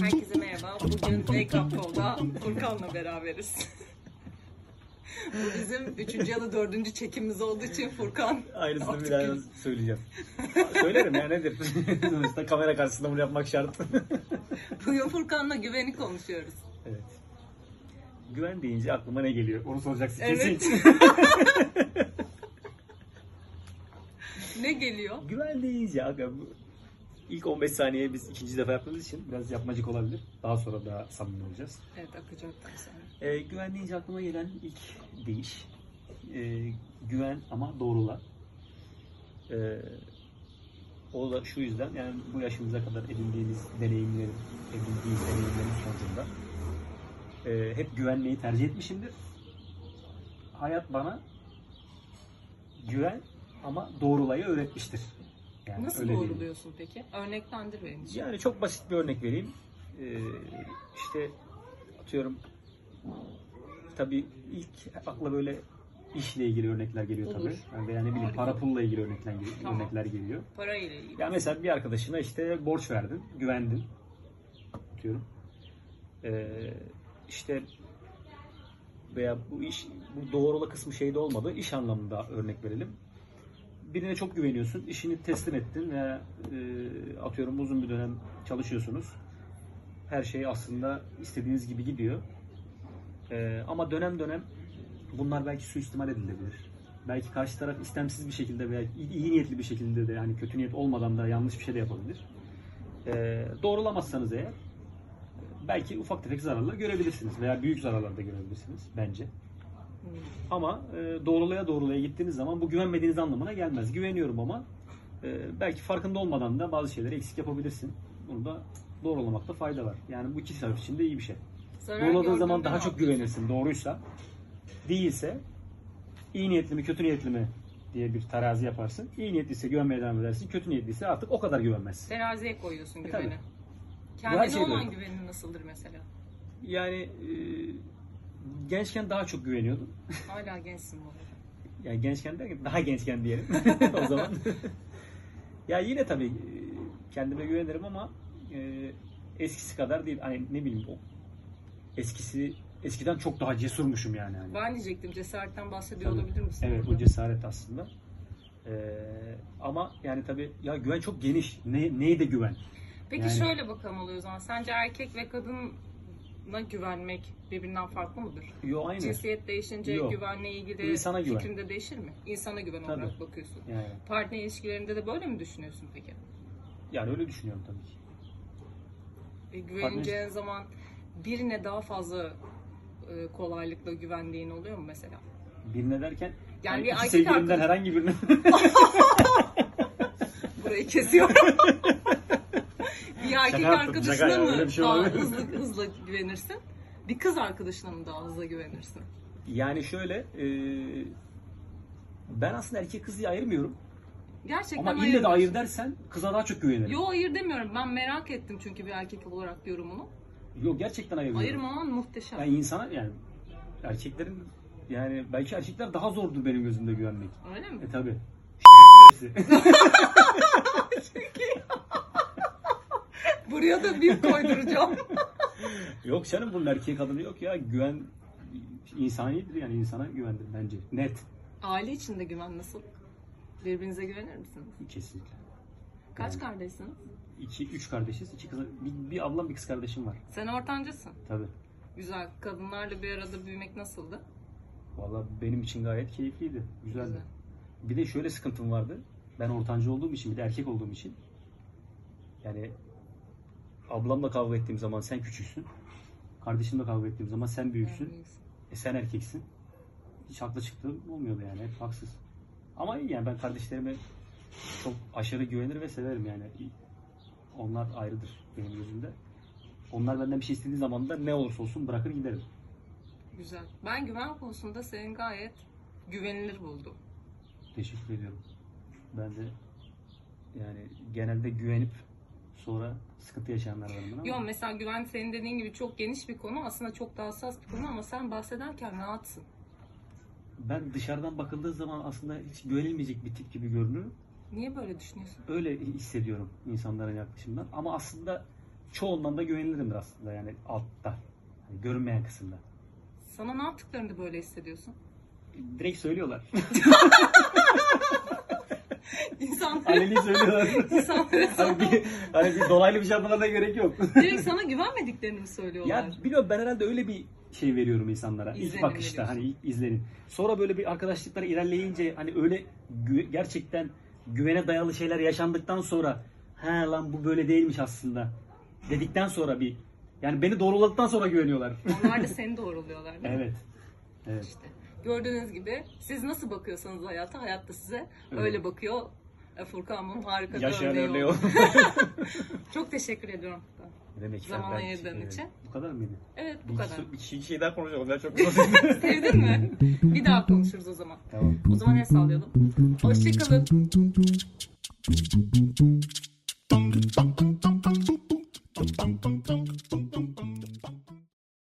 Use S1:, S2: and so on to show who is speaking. S1: Herkese merhaba. Bugün Z Club Call'da Furkan'la beraberiz. Bu bizim üçüncü ya da dördüncü çekimimiz olduğu için Furkan
S2: Aynısını
S1: Artık
S2: bir daha söyleyeceğim. Söylerim ya nedir? Sonuçta kamera karşısında bunu yapmak şart.
S1: bugün Furkan'la güveni konuşuyoruz.
S2: evet. Güven deyince aklıma ne geliyor? Onu soracaksın
S1: Evet.
S2: kesin.
S1: Ne geliyor?
S2: Güven deyince aga bu ilk 15 saniye biz ikinci defa yaptığımız için biraz yapmacık olabilir. Daha sonra daha samimi olacağız.
S1: Evet akacaktan sonra.
S2: Ee, güven deyince aklıma gelen ilk deyiş. Ee, güven ama doğrula. Ee, o da şu yüzden yani bu yaşımıza kadar edindiğimiz deneyimlerin, edindiğimiz deneyimlerin sonucunda e, hep güvenmeyi tercih etmişimdir. Hayat bana güven ama doğrulayı öğretmiştir. Yani
S1: Nasıl
S2: öyle diyeyim.
S1: doğruluyorsun peki? Örneklendir benim için.
S2: Ee, Yani çok basit bir örnek vereyim. Ee, işte atıyorum tabii ilk akla böyle işle ilgili örnekler geliyor
S1: Olur.
S2: tabii. Yani veya ne bileyim
S1: Harika.
S2: para pulla ilgili örnekler, geliyor-
S1: Tamam.
S2: örnekler geliyor.
S1: Para ile ilgili.
S2: Ya mesela bir arkadaşına işte borç verdin, güvendin diyorum. Ee, işte veya bu iş bu doğrula kısmı şeyde olmadı. İş anlamında örnek verelim. Birine çok güveniyorsun, işini teslim ettin ve e, atıyorum uzun bir dönem çalışıyorsunuz. Her şey aslında istediğiniz gibi gidiyor. Ee, ama dönem dönem bunlar belki suistimal edilebilir. Belki karşı taraf istemsiz bir şekilde veya iyi, iyi niyetli bir şekilde de yani kötü niyet olmadan da yanlış bir şey de yapabilir. Ee, doğrulamazsanız eğer belki ufak tefek zararlar görebilirsiniz veya büyük zararlar da görebilirsiniz bence.
S1: Hmm.
S2: Ama e, doğrulaya doğrulaya gittiğiniz zaman bu güvenmediğiniz anlamına gelmez. Güveniyorum ama e, belki farkında olmadan da bazı şeyleri eksik yapabilirsin. Bunu da doğrulamakta fayda var. Yani bu iki taraf için de iyi bir şey.
S1: Zarar
S2: Doğruladığın
S1: gördüğünde
S2: zaman
S1: ne
S2: daha çok
S1: yapıyorsun?
S2: güvenirsin doğruysa. Değilse iyi niyetli mi kötü niyetli mi diye bir terazi yaparsın. İyi niyetliyse güvenmeye devam edersin. Kötü niyetliyse artık o kadar güvenmezsin.
S1: Teraziye koyuyorsun
S2: E,
S1: güveni.
S2: tabii.
S1: Kendine
S2: şeyde
S1: olan
S2: öyle.
S1: güvenin nasıldır mesela?
S2: Yani e, gençken daha çok güveniyordum.
S1: Hala gençsin bu arada.
S2: Yani gençken derken daha gençken diyelim o zaman. ya yine tabii e, kendime güvenirim ama e, eskisi kadar değil. Hani ne bileyim o eskisi eskiden çok daha cesurmuşum yani. Hani.
S1: Ben diyecektim cesaretten bahsediyor
S2: Tabii.
S1: olabilir misin?
S2: Evet
S1: burada?
S2: o cesaret aslında. Ee, ama yani tabii ya güven çok geniş. Ne, neye de güven?
S1: Peki
S2: Yani-
S1: şöyle bakalım oluyor o zaman. Sence erkek ve kadına güvenmek birbirinden farklı mıdır?
S2: Yo aynı.
S1: Cinsiyet değişince
S2: Yok.
S1: güvenle ilgili
S2: İnsana güven.
S1: fikrinde değişir mi? İnsana güven
S2: Tabii.
S1: olarak bakıyorsun.
S2: Yani,
S1: Partner ilişkilerinde de böyle mi düşünüyorsun peki?
S2: yani öyle düşünüyorum tabii ki.
S1: E, güveneceğin zaman birine daha fazla e, kolaylıkla güvendiğin oluyor mu mesela?
S2: Birine derken
S1: Yani
S2: yani
S1: bir
S2: iki
S1: erkek
S2: sevgilimden
S1: arkadaş-
S2: herhangi birine
S1: Burayı kesiyorum. bir erkek
S2: yaptım,
S1: arkadaşına
S2: şaka ya,
S1: mı
S2: öyle bir şey
S1: daha
S2: olabilir mi?
S1: hızlı, hızlı güvenirsin? Bir kız arkadaşına mı daha hızlı güvenirsin?
S2: yani şöyle e, ben aslında erkek kızı ayırmıyorum.
S1: Gerçekten
S2: Ama ille
S1: hayır.
S2: de ayır dersen kıza daha çok güvenirim. Yok,
S1: Yo hayır demiyorum. Ben merak ettim çünkü bir erkek olarak yorumunu.
S2: gerçekten ayırmıyorum.
S1: Ayırmaman muhteşem.
S2: Yani insana yani erkeklerin yani belki erkekler daha zordur benim gözümde güvenmek.
S1: Öyle mi?
S2: E tabi.
S1: Buraya da bir koyduracağım.
S2: Yok canım bunun erkeği kadını yok ya. Güven insanidir yani insana güvendir bence. Net.
S1: Aile içinde güven nasıl? Birbirinize güvenir misiniz?
S2: Kesinlikle.
S1: Kaç
S2: Yani
S1: kardeşsiniz?
S2: İki, üç kardeşiz. İki kız, bir, bir ablam bir kız kardeşim var.
S1: Sen ortancısın.
S2: Tabii.
S1: Güzel. Kadınlarla bir arada büyümek nasıldı?
S2: Vallahi benim için gayet keyifliydi. Güzeldi.
S1: Güzel.
S2: Bir de şöyle sıkıntım vardı. Ben ortancı olduğum için bir de erkek olduğum için. Yani ablamla kavga ettiğim zaman sen küçüksün. Kardeşimle kavga ettiğim zaman sen büyüksün.
S1: Yani iyisin.
S2: E sen erkeksin. Hiç haklı çıktığım olmuyordu yani. Hep haksız. Ama iyi yani ben kardeşlerime çok aşırı güvenir ve severim yani. Onlar ayrıdır benim gözümde. Onlar benden bir şey istediği zaman da ne olursa olsun bırakır giderim.
S1: Güzel. Ben güven konusunda senin gayet güvenilir buldum.
S2: Teşekkür ediyorum. Ben de yani genelde güvenip sonra sıkıntı yaşayanlardanım ben ama
S1: Yo mesela güven senin dediğin gibi çok geniş bir konu. Aslında çok daha hassas bir konu ama sen bahsederken rahatsın.
S2: ben dışarıdan bakıldığı zaman aslında hiç güvenilmeyecek bir tip gibi görünür.
S1: Niye böyle düşünüyorsun?
S2: Öyle hissediyorum insanların yaklaşımından. Ama aslında çoğundan da güvenilirimdir aslında yani altta. Hani görünmeyen kısımda.
S1: Sana ne yaptıklarında böyle hissediyorsun?
S2: Direkt söylüyorlar.
S1: İnsanlara,
S2: Aleni söylüyorlar.
S1: insanlara
S2: hani,
S1: sana,
S2: bir, hani bir dolaylı bir şey yapmana da gerek yok.
S1: direkt sana güvenmediklerini mi söylüyorlar?
S2: Ya biliyorum ben herhalde öyle bir şey veriyorum insanlara.
S1: İzlenim
S2: İlk bakışta
S1: veriyorsun.
S2: hani ilk izlenim. Sonra böyle bir arkadaşlıklar ilerleyince hani öyle gü- gerçekten güvene dayalı şeyler yaşandıktan sonra ha lan bu böyle değilmiş aslında dedikten sonra bir yani beni doğruladıktan sonra güveniyorlar.
S1: Onlar da seni doğruluyorlar. değil mi?
S2: evet. Evet.
S1: İşte gördüğünüz gibi siz nasıl bakıyorsanız hayata, hayat da size
S2: Evet.
S1: öyle bakıyor. E, Furkan bunun harika bir
S2: Yaşayan
S1: örneği
S2: örneği
S1: oldu.
S2: o.
S1: Çok teşekkür ediyorum. Furkan.
S2: Demek ki
S1: Zaman
S2: ben-
S1: ayırdığın
S2: evet.
S1: için.
S2: Bu kadar mıydı?
S1: Evet bu
S2: Bir-
S1: kadar.
S2: Bir iki şey daha konuşalım. Ben çok konuşayım.
S1: Sevdin mi? Bir daha konuşuruz o zaman.
S2: tamam.
S1: O zaman el sallayalım. Hoşçakalın.